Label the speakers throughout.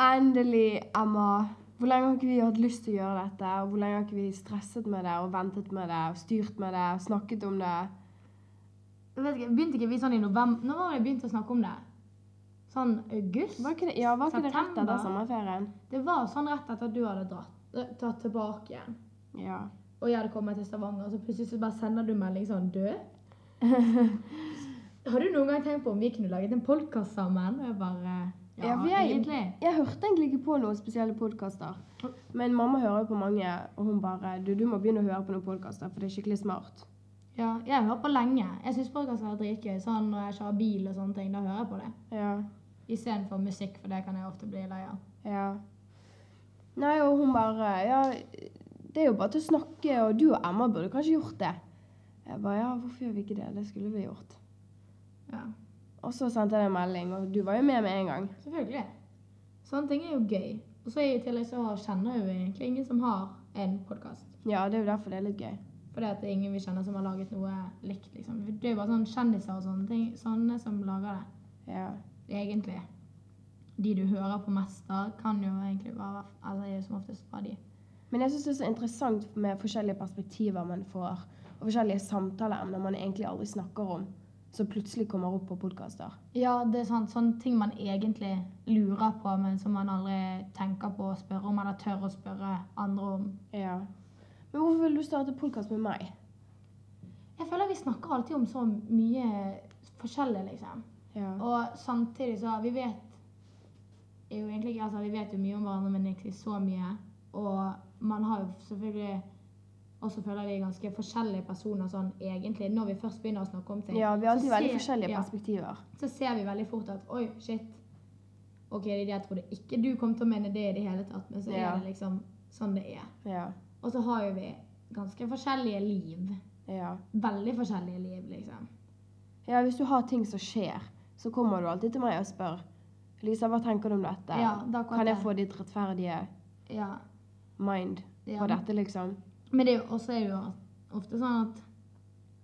Speaker 1: Endelig, Emma. Hvor lenge har ikke vi hatt lyst til å gjøre dette? Og hvor lenge har ikke vi stresset med det og ventet med det og styrt med det og snakket om det?
Speaker 2: Jeg vet ikke, Begynte ikke vi sånn i november? Når var det vi begynte å snakke om det? Sånn august?
Speaker 1: Var ikke det, ja, var ikke det rett
Speaker 2: September?
Speaker 1: etter sommerferien?
Speaker 2: Det var sånn rett etter at du hadde dratt, eh, tatt tilbake igjen.
Speaker 1: Ja.
Speaker 2: Og jeg hadde kommet til Stavanger, så plutselig så bare sender du melding sånn død. Har du noen gang tenkt på om vi kunne laget en podkast sammen? Og jeg bare eh, Ja,
Speaker 1: Ja, vi er-
Speaker 2: egentlig.
Speaker 1: Jeg hørte egentlig ikke på noen spesielle podkaster. Men mamma hører jo på mange, og hun bare Du, du må begynne å høre på noen podkaster, for det er skikkelig smart.
Speaker 2: Ja, jeg hører på lenge. Jeg syns podkast er dritgøy. Sånn når jeg kjører bil og sånne ting, da hører jeg på det.
Speaker 1: Ja.
Speaker 2: Istedenfor musikk, for det kan jeg ofte bli lei av.
Speaker 1: Ja. Nei, og hun bare Ja, det er jo bare til å snakke, og du og Emma burde kanskje gjort det. Jeg bare Ja, hvorfor gjør vi ikke det? Det skulle vi gjort.
Speaker 2: Ja,
Speaker 1: Og så sendte jeg deg en melding, og du var jo med med en gang.
Speaker 2: selvfølgelig. Sånne ting er jo gøy. Og så i tillegg så kjenner jeg jo egentlig ingen som har en podkast.
Speaker 1: Ja, det er jo derfor det er litt gøy.
Speaker 2: Fordi at det er ingen vi kjenner som har laget noe likt, liksom. Det er jo bare sånn kjendiser og sånne ting. Sånne som lager det.
Speaker 1: Ja.
Speaker 2: egentlig de du hører på mest da, kan jo egentlig være Eller er jo som oftest fra de.
Speaker 1: Men jeg syns det er så interessant med forskjellige perspektiver man får, og forskjellige samtaleemner man egentlig aldri snakker om, som plutselig kommer opp på podkaster.
Speaker 2: Ja, det er sant. Sånne ting man egentlig lurer på, men som man aldri tenker på å spørre om, eller tør å spørre andre om.
Speaker 1: Ja. Men hvorfor vil du starte podkast med meg?
Speaker 2: Jeg føler vi snakker alltid om så mye forskjellig, liksom.
Speaker 1: Ja.
Speaker 2: Og samtidig så Vi vet er jo egentlig ikke, altså vi vet jo mye om hverandre, men ikke så mye. Og man har jo selvfølgelig også føler vi er ganske forskjellige personer sånn egentlig, når vi først begynner å snakke om ting.
Speaker 1: ja, vi har alltid
Speaker 2: Så
Speaker 1: veldig
Speaker 2: ser-
Speaker 1: forskjellige
Speaker 2: ja,
Speaker 1: perspektiver.
Speaker 2: så ser vi veldig fort at oi, shit. Ok, det er det jeg trodde ikke du kom til å mene det i det hele tatt, men så
Speaker 1: Ja.
Speaker 2: er det liksom sånn det er.
Speaker 1: Ja.
Speaker 2: Og så har jo vi ganske forskjellige liv.
Speaker 1: ja.
Speaker 2: Veldig forskjellige liv, liksom.
Speaker 1: Ja, hvis du har ting som skjer, så kommer du alltid til meg og spør Lisa, hva tenker du om dette?
Speaker 2: Ja, det er akkurat
Speaker 1: kan jeg
Speaker 2: det.
Speaker 1: få ditt rettferdige
Speaker 2: Ja.
Speaker 1: mind
Speaker 2: ja.
Speaker 1: på dette, liksom?
Speaker 2: Men det er jo også er det jo ofte sånn at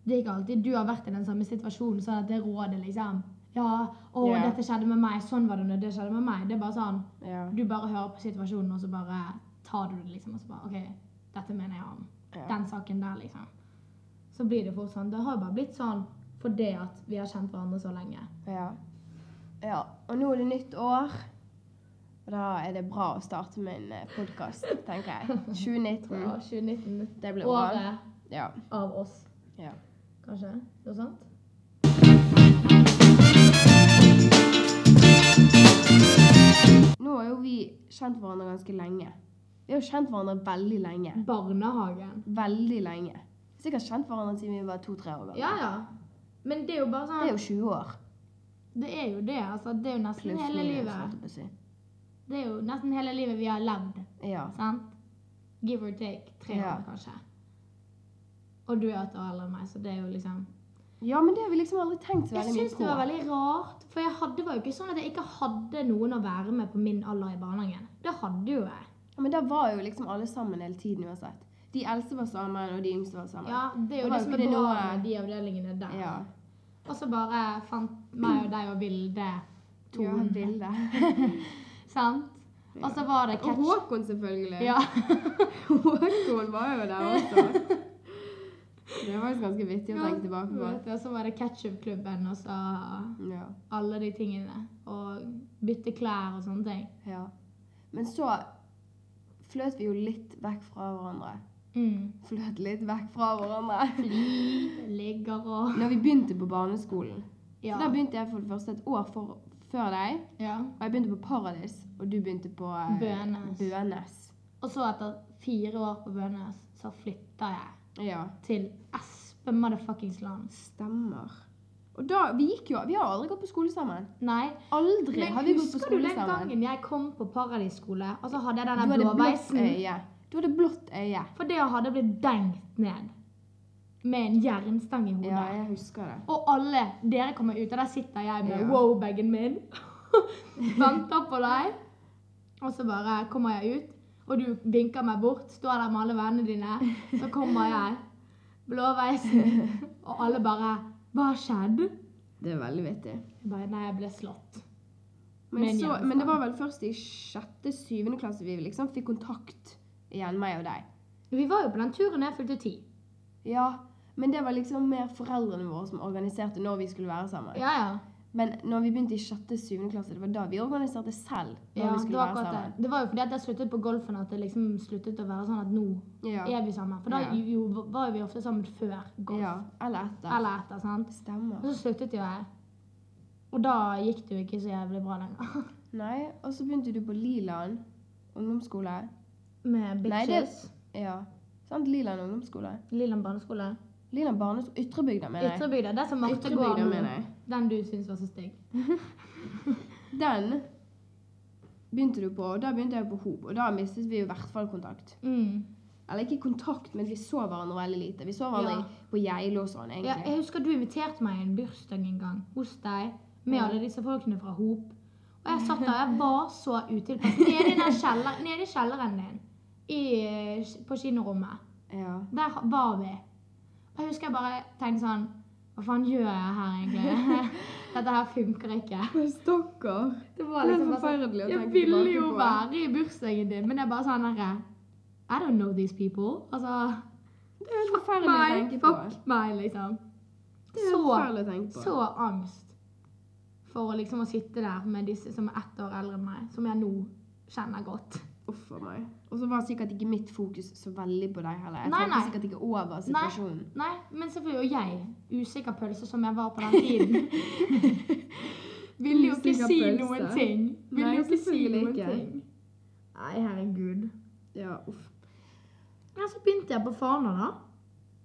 Speaker 2: det er ikke alltid du har vært i den samme situasjonen, sånn at det rådet liksom Ja, å,
Speaker 1: Ja.
Speaker 2: dette skjedde med meg, sånn var det når det skjedde med meg. Det er bare sånn
Speaker 1: Ja.
Speaker 2: Du bare hører på situasjonen, og så bare tar du det, liksom. Og så bare OK, dette mener jeg om.
Speaker 1: ja.
Speaker 2: Den saken der, liksom. Så blir det fort sånn. Det har jo bare blitt sånn fordi at vi har kjent hverandre så lenge.
Speaker 1: ja. ja. Og nå er det nytt år. Og da er det bra å starte med en podkast, tenker jeg. 2019.
Speaker 2: Ja, 2019.
Speaker 1: Det blir bra.
Speaker 2: Året
Speaker 1: Ja.
Speaker 2: av oss,
Speaker 1: ja.
Speaker 2: kanskje. Noe sånt?
Speaker 1: Nå har jo vi kjent hverandre ganske lenge. Vi har jo kjent hverandre veldig lenge.
Speaker 2: Barnehagen.
Speaker 1: Veldig lenge. Sikkert kjent hverandre siden vi var to-tre år gamle.
Speaker 2: Ja, ja. Men det er jo bare sånn
Speaker 1: Det er jo 20 år.
Speaker 2: Det er jo det. altså Det er jo nesten
Speaker 1: Pluss
Speaker 2: hele
Speaker 1: minus, holdt
Speaker 2: livet
Speaker 1: jeg på å si.
Speaker 2: Det er jo nesten hele livet vi har levd.
Speaker 1: Ja.
Speaker 2: sant? Give or take. Tre
Speaker 1: Ja.
Speaker 2: år, kanskje. Og du er et år eldre enn meg, så det er jo liksom
Speaker 1: ja, men det har vi liksom aldri tenkt så
Speaker 2: Jeg
Speaker 1: veldig mye
Speaker 2: syns
Speaker 1: på.
Speaker 2: det var veldig rart, for jeg hadde, var jo ikke sånn at jeg ikke hadde noen å være med på min alder i barnehagen. Det hadde jo jeg.
Speaker 1: Ja, Men da var jo liksom alle sammen hele tiden uansett. De eldste var sammen, og de yngste var sammen.
Speaker 2: Ja, Det er
Speaker 1: Men
Speaker 2: jo det
Speaker 1: var
Speaker 2: som
Speaker 1: ikke
Speaker 2: er
Speaker 1: det
Speaker 2: bra
Speaker 1: noe-
Speaker 2: med de avdelingene der.
Speaker 1: ja.
Speaker 2: Og så bare eh, fant meg og deg og Vilde
Speaker 1: Ja,
Speaker 2: tonen.
Speaker 1: Vilde.
Speaker 2: sant? Og så var det
Speaker 1: Og
Speaker 2: catch.
Speaker 1: Håkon, selvfølgelig.
Speaker 2: Ja.
Speaker 1: Håkon var jo der også. Det var faktisk ganske vittig å
Speaker 2: Ja,
Speaker 1: tenke tilbake på.
Speaker 2: vet du, Og så var det ketchupklubben, og så
Speaker 1: Ja.
Speaker 2: alle de tingene. Og bytte klær og sånne ting.
Speaker 1: ja. Men så fløt vi jo litt vekk fra hverandre.
Speaker 2: Mm.
Speaker 1: Fløt litt vekk fra hverandre.
Speaker 2: Ligger og
Speaker 1: Når vi begynte på barneskolen.
Speaker 2: Ja.
Speaker 1: Så da begynte jeg for det første et år for, før deg.
Speaker 2: ja.
Speaker 1: Og jeg begynte på Paradis, og du begynte på eh,
Speaker 2: Bønes.
Speaker 1: Bønes.
Speaker 2: Og så etter fire år på Bønes, så flytta jeg
Speaker 1: Ja,
Speaker 2: til Espe motherfuckings land.
Speaker 1: stemmer. Og da, Vi gikk jo, vi har aldri gått på skole sammen.
Speaker 2: Nei.
Speaker 1: Aldri
Speaker 2: Men
Speaker 1: har vi gått på
Speaker 2: husker du
Speaker 1: skole
Speaker 2: den
Speaker 1: sammen.
Speaker 2: gangen jeg kom på Paradisskole, og så hadde jeg
Speaker 1: Du
Speaker 2: den der
Speaker 1: hadde blått
Speaker 2: blåveisen?
Speaker 1: øye. Du hadde blått øye.
Speaker 2: For det hadde blitt dengt ned med en jernstang i hodet.
Speaker 1: Ja, jeg husker det.
Speaker 2: Og alle dere kommer ut, og der sitter jeg med
Speaker 1: Ja.
Speaker 2: wow-bagen min. Venter på deg. Og så bare kommer jeg ut, og du vinker meg bort. Står der med alle vennene dine. Så kommer jeg. Blåveisen. Og alle bare Hva skjedde?
Speaker 1: Det er veldig vittig.
Speaker 2: Jeg bare Nei, jeg ble slått.
Speaker 1: Men,
Speaker 2: Men
Speaker 1: så,
Speaker 2: igjen,
Speaker 1: men det
Speaker 2: faen.
Speaker 1: var vel først i sjette-syvende klasse vi liksom fikk kontakt igjen, meg og deg.
Speaker 2: Vi var jo på den turen jeg fylte ti.
Speaker 1: Ja, men det var liksom mer foreldrene våre som organiserte når vi skulle være sammen.
Speaker 2: Ja, ja.
Speaker 1: Men når vi begynte i sjette-syvende klasse, det var da vi organiserte selv. når
Speaker 2: ja
Speaker 1: vi
Speaker 2: det,
Speaker 1: skulle
Speaker 2: var
Speaker 1: være
Speaker 2: akkurat
Speaker 1: sammen.
Speaker 2: det. det var jo fordi at jeg sluttet på golfen at det liksom sluttet å være sånn at nå
Speaker 1: Ja.
Speaker 2: er vi sammen. For da
Speaker 1: Ja.
Speaker 2: jo, var jo vi ofte sammen før golf.
Speaker 1: ja. Eller etter.
Speaker 2: Eller etter, sant. Og
Speaker 1: Stemmer.
Speaker 2: så sluttet jo jeg. Og da gikk det jo ikke så jævlig bra lenger.
Speaker 1: Nei, og så begynte du på Liland ungdomsskole.
Speaker 2: Med
Speaker 1: Nei, det-
Speaker 2: bitches.
Speaker 1: Ja. Sant? Liland ungdomsskole.
Speaker 2: Lilland barneskole.
Speaker 1: Liland barneskole. Ytrebygda, mener jeg.
Speaker 2: Ytrebygda. Det som Marte går
Speaker 1: Ytrebygda,
Speaker 2: nå.
Speaker 1: mener jeg.
Speaker 2: Den du syns var så stygg.
Speaker 1: Den begynte du på, og da begynte jeg på Hob. Og da mistet vi jo i hvert fall kontakt.
Speaker 2: Mm.
Speaker 1: Eller ikke kontakt, men vi så hverandre veldig lite. Vi så hverandre
Speaker 2: Ja.
Speaker 1: i- på Geilo og sånn,
Speaker 2: Ja,
Speaker 1: egentlig.
Speaker 2: jeg husker du inviterte meg i en bursdag en gang hos deg med
Speaker 1: Ja.
Speaker 2: alle disse folkene fra Hop. Og jeg satt der, jeg var så utilpass. Nede i den kjeller- nede i kjelleren din i, eh, på kinorommet.
Speaker 1: Ja.
Speaker 2: Der ha- var vi. Og jeg husker jeg bare tenkte sånn Hva faen gjør jeg her, egentlig? Dette her funker ikke.
Speaker 1: Men Stakkar.
Speaker 2: Det var
Speaker 1: Det er
Speaker 2: liksom bare sånn
Speaker 1: forferdelig å
Speaker 2: Jeg
Speaker 1: tenke
Speaker 2: ville jo
Speaker 1: tilbake på.
Speaker 2: være i bursdagen din, men det er bare sånn herre I don't know these people. Altså
Speaker 1: Det er helt forferdelig å
Speaker 2: Meg,
Speaker 1: tenke på.
Speaker 2: fuck meg, liksom.
Speaker 1: Det er helt
Speaker 2: Så
Speaker 1: forferdelig å tenke på.
Speaker 2: så angst for å liksom å sitte der med disse som er ett år eldre enn meg, som jeg nå kjenner godt.
Speaker 1: Uff a meg. Og så var sikkert ikke mitt fokus så veldig på deg heller. Jeg
Speaker 2: Nei,
Speaker 1: tenkte
Speaker 2: nei.
Speaker 1: sikkert ikke over situasjonen.
Speaker 2: Nei, men selvfølgelig, og jeg, usikker pølse som jeg var på den tiden, ville jo ikke
Speaker 1: Usikker
Speaker 2: si
Speaker 1: pølse.
Speaker 2: noen ting. Ville
Speaker 1: Nei,
Speaker 2: jo ikke si
Speaker 1: selvfølgelig
Speaker 2: noen
Speaker 1: ikke.
Speaker 2: ting. Nei, herregud.
Speaker 1: Ja, uff.
Speaker 2: Ja, så begynte jeg på Fana, da.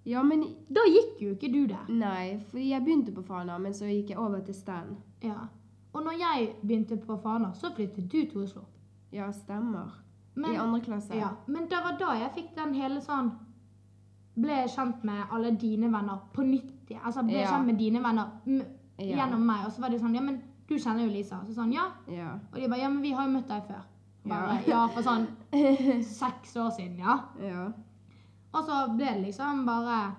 Speaker 1: Ja, men
Speaker 2: Da gikk jo ikke du der.
Speaker 1: Nei, fordi jeg begynte på Fana, men så gikk jeg over til Stan.
Speaker 2: Ja. Og når jeg begynte på Fana, så flyttet du til Oslo.
Speaker 1: Ja, stemmer. I
Speaker 2: Men-
Speaker 1: andre klasse.
Speaker 2: Ja, men det var da jeg fikk den hele sånn Ble kjent med alle dine venner på nytt igjen. Altså ble
Speaker 1: Ja.
Speaker 2: kjent med dine venner m
Speaker 1: Ja.
Speaker 2: gjennom meg. Og så var det sånn Ja, men du kjenner jo Lisa. Så sånn, ja.
Speaker 1: Ja.
Speaker 2: Og de bare Ja, men vi har jo møtt deg før. Bare,
Speaker 1: Ja.
Speaker 2: ja. for sånn seks år siden, ja.
Speaker 1: ja.
Speaker 2: Og så ble det liksom bare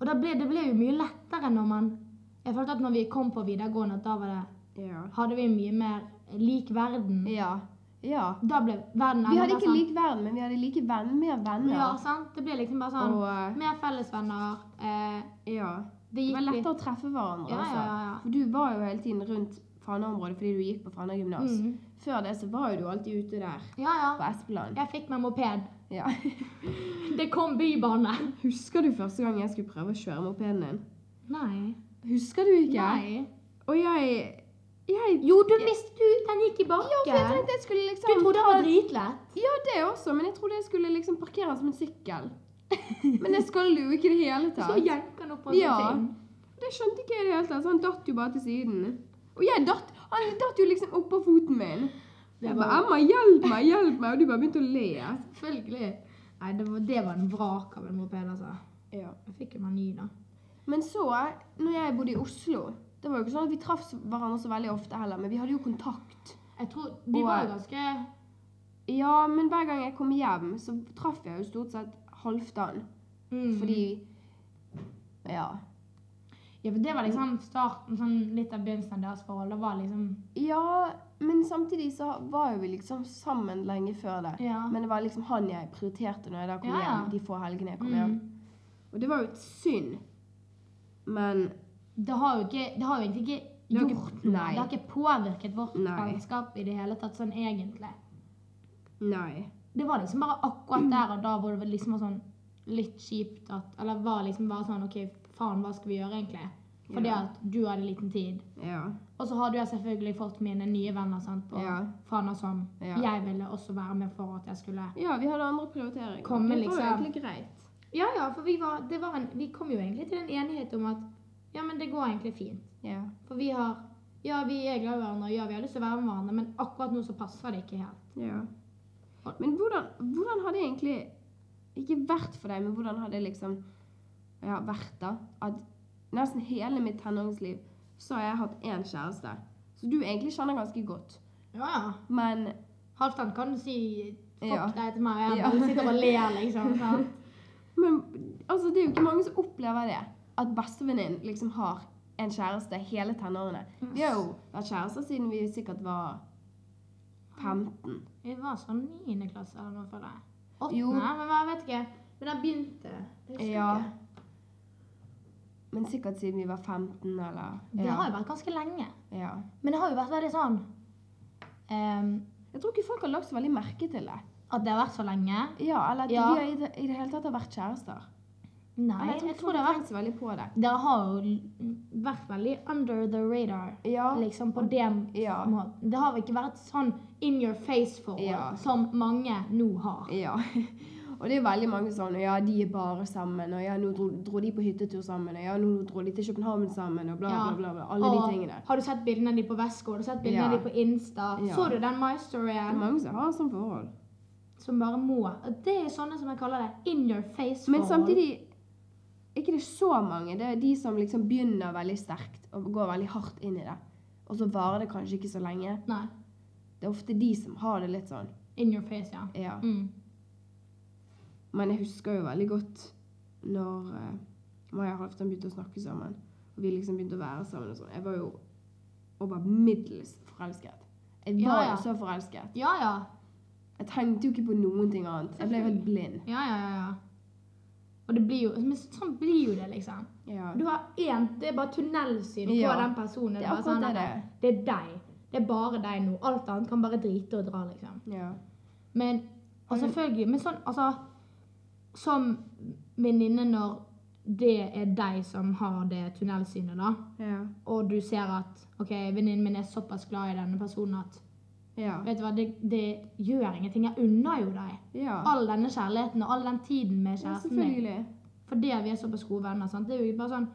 Speaker 2: Og da ble, det ble jo mye lettere når man Jeg følte at når vi kom på videregående, at da var det
Speaker 1: Ja.
Speaker 2: Hadde vi mye mer lik verden.
Speaker 1: Ja. ja.
Speaker 2: Da ble verden
Speaker 1: Vi
Speaker 2: enda
Speaker 1: hadde
Speaker 2: mer
Speaker 1: ikke lik verden, men vi hadde like venn, mer venner.
Speaker 2: Ja, sant? Det ble liksom bare sånn
Speaker 1: Og eh,
Speaker 2: Mer fellesvenner. Eh,
Speaker 1: ja.
Speaker 2: det altså.
Speaker 1: Det
Speaker 2: gikk
Speaker 1: var
Speaker 2: litt
Speaker 1: lettere å treffe hverandre.
Speaker 2: Ja,
Speaker 1: også.
Speaker 2: ja, ja, ja.
Speaker 1: For du var jo hele tiden rundt Fana-området fordi du gikk på Fana gymnas.
Speaker 2: Mm.
Speaker 1: Før det så var jo du alltid ute der
Speaker 2: Ja,
Speaker 1: på
Speaker 2: ja.
Speaker 1: Espeland.
Speaker 2: Jeg fikk meg moped.
Speaker 1: Ja.
Speaker 2: Det kom bybane.
Speaker 1: Husker du første gang jeg skulle prøve å kjøre mopeden din?
Speaker 2: Nei.
Speaker 1: Husker du ikke?
Speaker 2: Nei.
Speaker 1: Og jeg Jeg
Speaker 2: Jo, du mistet du. Den gikk i
Speaker 1: Ja, for jeg
Speaker 2: bakken.
Speaker 1: tenkte jeg skulle
Speaker 2: Du
Speaker 1: liksom
Speaker 2: trodde det sånn, var dritlett.
Speaker 1: Ja, det også, men jeg trodde jeg skulle liksom parkere den som en sykkel. Men det skal du jo ikke i det hele
Speaker 2: Så
Speaker 1: tatt.
Speaker 2: jenka han opp på
Speaker 1: Ja.
Speaker 2: en ting.
Speaker 1: Det skjønte ikke jeg i det hele tatt, så han datt jo bare til siden. Og jeg datt Han datt jo liksom oppå foten min.
Speaker 2: Det
Speaker 1: Jeg
Speaker 2: var-
Speaker 1: bare 'Emma, hjelp meg, hjelp meg', og du bare begynte å le.
Speaker 2: Selvfølgelig. Nei, det var, det var en vrak av en moped, altså.
Speaker 1: Ja.
Speaker 2: Jeg fikk jo meg ny, da.
Speaker 1: Men så, når jeg bodde i Oslo Det var jo ikke sånn at vi traff hverandre så veldig ofte heller, men vi hadde jo kontakt.
Speaker 2: Jeg tror De
Speaker 1: Og-
Speaker 2: var jo ganske
Speaker 1: Ja, men hver gang jeg kom hjem, så traff jeg jo stort sett Halvdan.
Speaker 2: mm.
Speaker 1: Fordi Ja.
Speaker 2: Ja, for det var liksom starten, sånn litt av begynnelsen av deres forhold. Det var liksom
Speaker 1: Ja, men samtidig så var jo vi liksom sammen lenge før det.
Speaker 2: Ja.
Speaker 1: Men det var liksom han jeg prioriterte når jeg da kom
Speaker 2: Ja, ja.
Speaker 1: hjem. De få helgene jeg kom hjem.
Speaker 2: Mm.
Speaker 1: Og det var jo et synd. Men
Speaker 2: Det har jo ikke Det har jo egentlig ikke
Speaker 1: Det har ikke-
Speaker 2: gjort noe.
Speaker 1: nei.
Speaker 2: Det har ikke påvirket vårt
Speaker 1: Nei.
Speaker 2: vennskap i det hele tatt, sånn egentlig.
Speaker 1: nei.
Speaker 2: det var liksom bare
Speaker 1: Mm.
Speaker 2: akkurat der og da hvor det liksom var sånn litt kjipt at Eller var liksom bare sånn OK, faen, hva skal vi gjøre, egentlig? Fordi
Speaker 1: Ja.
Speaker 2: at du hadde liten tid.
Speaker 1: Ja.
Speaker 2: Og så hadde jeg selvfølgelig fått mine nye venner sant, på
Speaker 1: Ja.
Speaker 2: Fana som
Speaker 1: Ja.
Speaker 2: sånn. jeg ville også være med for at jeg skulle
Speaker 1: ja, vi hadde andre prioriteringer.
Speaker 2: Komme
Speaker 1: det var jo
Speaker 2: liksom.
Speaker 1: egentlig greit.
Speaker 2: Ja ja, for vi var, det var en, vi kom jo egentlig til en enighet om at ja, men det går egentlig fint.
Speaker 1: Ja.
Speaker 2: For vi har Ja, vi er glad i hverandre, ja, vi har lyst til å være med hverandre, men akkurat nå så passer det ikke helt.
Speaker 1: ja. Men hvordan, hvordan har det egentlig ikke vært for deg, men hvordan har det liksom ja, vært da? At nesten hele mitt tenåringsliv så har jeg hatt én kjæreste. Så du egentlig kjenner ganske godt.
Speaker 2: Ja ja.
Speaker 1: Men
Speaker 2: Halvdan kan si fuck
Speaker 1: Ja.
Speaker 2: deg til meg, og jeg
Speaker 1: Ja.
Speaker 2: bare sitter og ler, liksom. sant?
Speaker 1: Men altså, det er jo ikke mange som opplever det. At bestevenninnen liksom har en kjæreste hele tenårene. Vi har jo vært kjærester siden vi sikkert var 15.
Speaker 2: Vi var sånn 9. klasse eller noe, føler jeg.
Speaker 1: Jo.
Speaker 2: Åttende, men jeg vet ikke. Men den begynte. Det husker jeg
Speaker 1: Ja.
Speaker 2: ikke.
Speaker 1: Men sikkert siden vi var 15 eller
Speaker 2: Det
Speaker 1: ja,
Speaker 2: har jo vært ganske lenge.
Speaker 1: ja.
Speaker 2: Men det har jo vært veldig sånn ehm,
Speaker 1: Jeg tror ikke folk har lagt så veldig merke til det.
Speaker 2: At det har vært så lenge.
Speaker 1: Ja, Eller at
Speaker 2: Ja.
Speaker 1: vi har i det, i det hele tatt har vært kjærester.
Speaker 2: Nei,
Speaker 1: Eller
Speaker 2: jeg tror, det har vært
Speaker 1: tenkt så veldig på det.
Speaker 2: Dere har jo l- vært veldig under the radar.
Speaker 1: Ja.
Speaker 2: Liksom på den
Speaker 1: Ja.
Speaker 2: måten. Det har vel ikke vært sånn in your face-forhold
Speaker 1: Ja.
Speaker 2: som mange nå har.
Speaker 1: Ja. Og det er veldig mange sånn Ja, de er bare sammen. Og ja, nå dro, dro de på hyttetur sammen. Og ja, nå dro de til København sammen. Og bla,
Speaker 2: Ja.
Speaker 1: bla, bla. bla. Alle
Speaker 2: Og
Speaker 1: de tingene.
Speaker 2: Har du sett bildene av de på Vestgå? Har du sett bildene
Speaker 1: Ja.
Speaker 2: av de på Insta?
Speaker 1: Ja.
Speaker 2: Så du den My
Speaker 1: Det er
Speaker 2: Storyen
Speaker 1: mange som har sånn forhold.
Speaker 2: som bare må Det er sånne som jeg kaller det in your face-forhold.
Speaker 1: Men samtidig er ikke det så mange. Det er de som liksom begynner veldig sterkt og går veldig hardt inn i det. Og så varer det kanskje ikke så lenge.
Speaker 2: Nei.
Speaker 1: Det er ofte de som har det litt sånn.
Speaker 2: In your face, ja.
Speaker 1: Ja.
Speaker 2: Mm.
Speaker 1: Men jeg husker jo veldig godt når uh, Maja og Halvdan begynte å snakke sammen. Og vi liksom begynte å være sammen og sånn. Jeg var jo over middels forelsket. Jeg
Speaker 2: Ja,
Speaker 1: var
Speaker 2: ja.
Speaker 1: jo så forelsket.
Speaker 2: Ja, ja.
Speaker 1: Jeg tenkte jo ikke på noen ting annet. Jeg ble helt blind.
Speaker 2: Ja, ja, ja. ja. Og det blir jo Men sånn blir jo det, liksom.
Speaker 1: Ja.
Speaker 2: Du har én Det er bare tunnelsyn
Speaker 1: Ja.
Speaker 2: på den personen.
Speaker 1: Det er
Speaker 2: bare
Speaker 1: akkurat
Speaker 2: sånn
Speaker 1: det det
Speaker 2: at
Speaker 1: er.
Speaker 2: det er deg. Det er bare deg nå. Alt annet kan bare drite og dra, liksom.
Speaker 1: Ja.
Speaker 2: Men og
Speaker 1: Mm.
Speaker 2: selvfølgelig Men sånn, altså Som venninne når det er deg som har det tunnelsynet, da,
Speaker 1: Ja.
Speaker 2: og du ser at OK, venninnen min er såpass glad i denne personen at
Speaker 1: Ja.
Speaker 2: Vet du hva, det, det gjør ingenting. Jeg unner jo deg
Speaker 1: ja.
Speaker 2: all denne kjærligheten og all den tiden med
Speaker 1: ja
Speaker 2: kjæresten din.
Speaker 1: selvfølgelig.
Speaker 2: Fordi at vi er såpass gode venner. Sant? Det er jo bare sånn